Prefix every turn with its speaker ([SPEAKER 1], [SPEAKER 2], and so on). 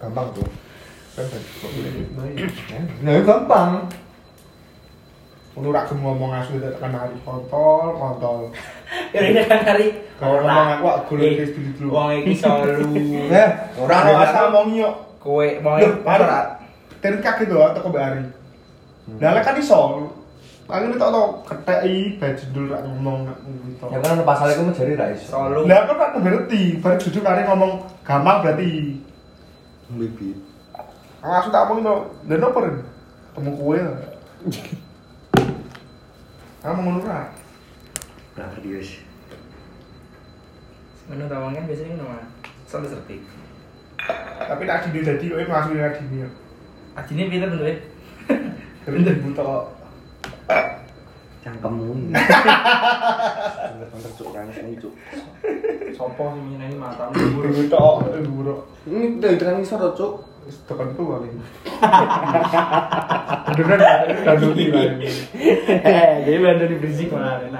[SPEAKER 1] gampang tuh kan gak gak boleh Ya, nah itu gampang lu rak gelem ngomong asu tak kenali kontol kontol
[SPEAKER 2] Ya ini kan hari
[SPEAKER 1] Kalau ngomong aku, aku golek
[SPEAKER 2] Eh,
[SPEAKER 1] wis dulu dulu.
[SPEAKER 2] Wong iki selalu
[SPEAKER 1] eh orang
[SPEAKER 2] Orang
[SPEAKER 1] lo asal ngomong yuk
[SPEAKER 2] kowe wong
[SPEAKER 1] Loh,
[SPEAKER 2] iki
[SPEAKER 1] baru.
[SPEAKER 2] ora
[SPEAKER 1] terkak gitu atau ke bari nah lek kan iso paling itu tau ketek i baju dulu rak ngomong nak gitu
[SPEAKER 3] Ya kan pasalnya aku menjadi ra iso.
[SPEAKER 2] selalu
[SPEAKER 1] lah aku rak ngerti baru jujur kali ngomong gampang berarti
[SPEAKER 4] Bibi.
[SPEAKER 1] aku langsung tak ngomong no dan no per temu kue ya. kamu ngono rak
[SPEAKER 4] Nah, serius.
[SPEAKER 2] ngono ta wong kan biasanya ngono mah. Selalu serpi.
[SPEAKER 1] tapi tak dini jadi kowe langsung ya. rak dini
[SPEAKER 2] Adine pinter bentuke.
[SPEAKER 1] terus dibutuh
[SPEAKER 4] Cangkemmu. Bener-bener cuk nangis nih cuk.
[SPEAKER 2] Sopo sing nyenengi matamu?
[SPEAKER 1] dibutuh dibutuh
[SPEAKER 4] Ini udah dengan ngisor loh, cuk.
[SPEAKER 1] tekan tuh kali beneran dan dulu
[SPEAKER 2] Eh, jadi bandel di berisik malah enak.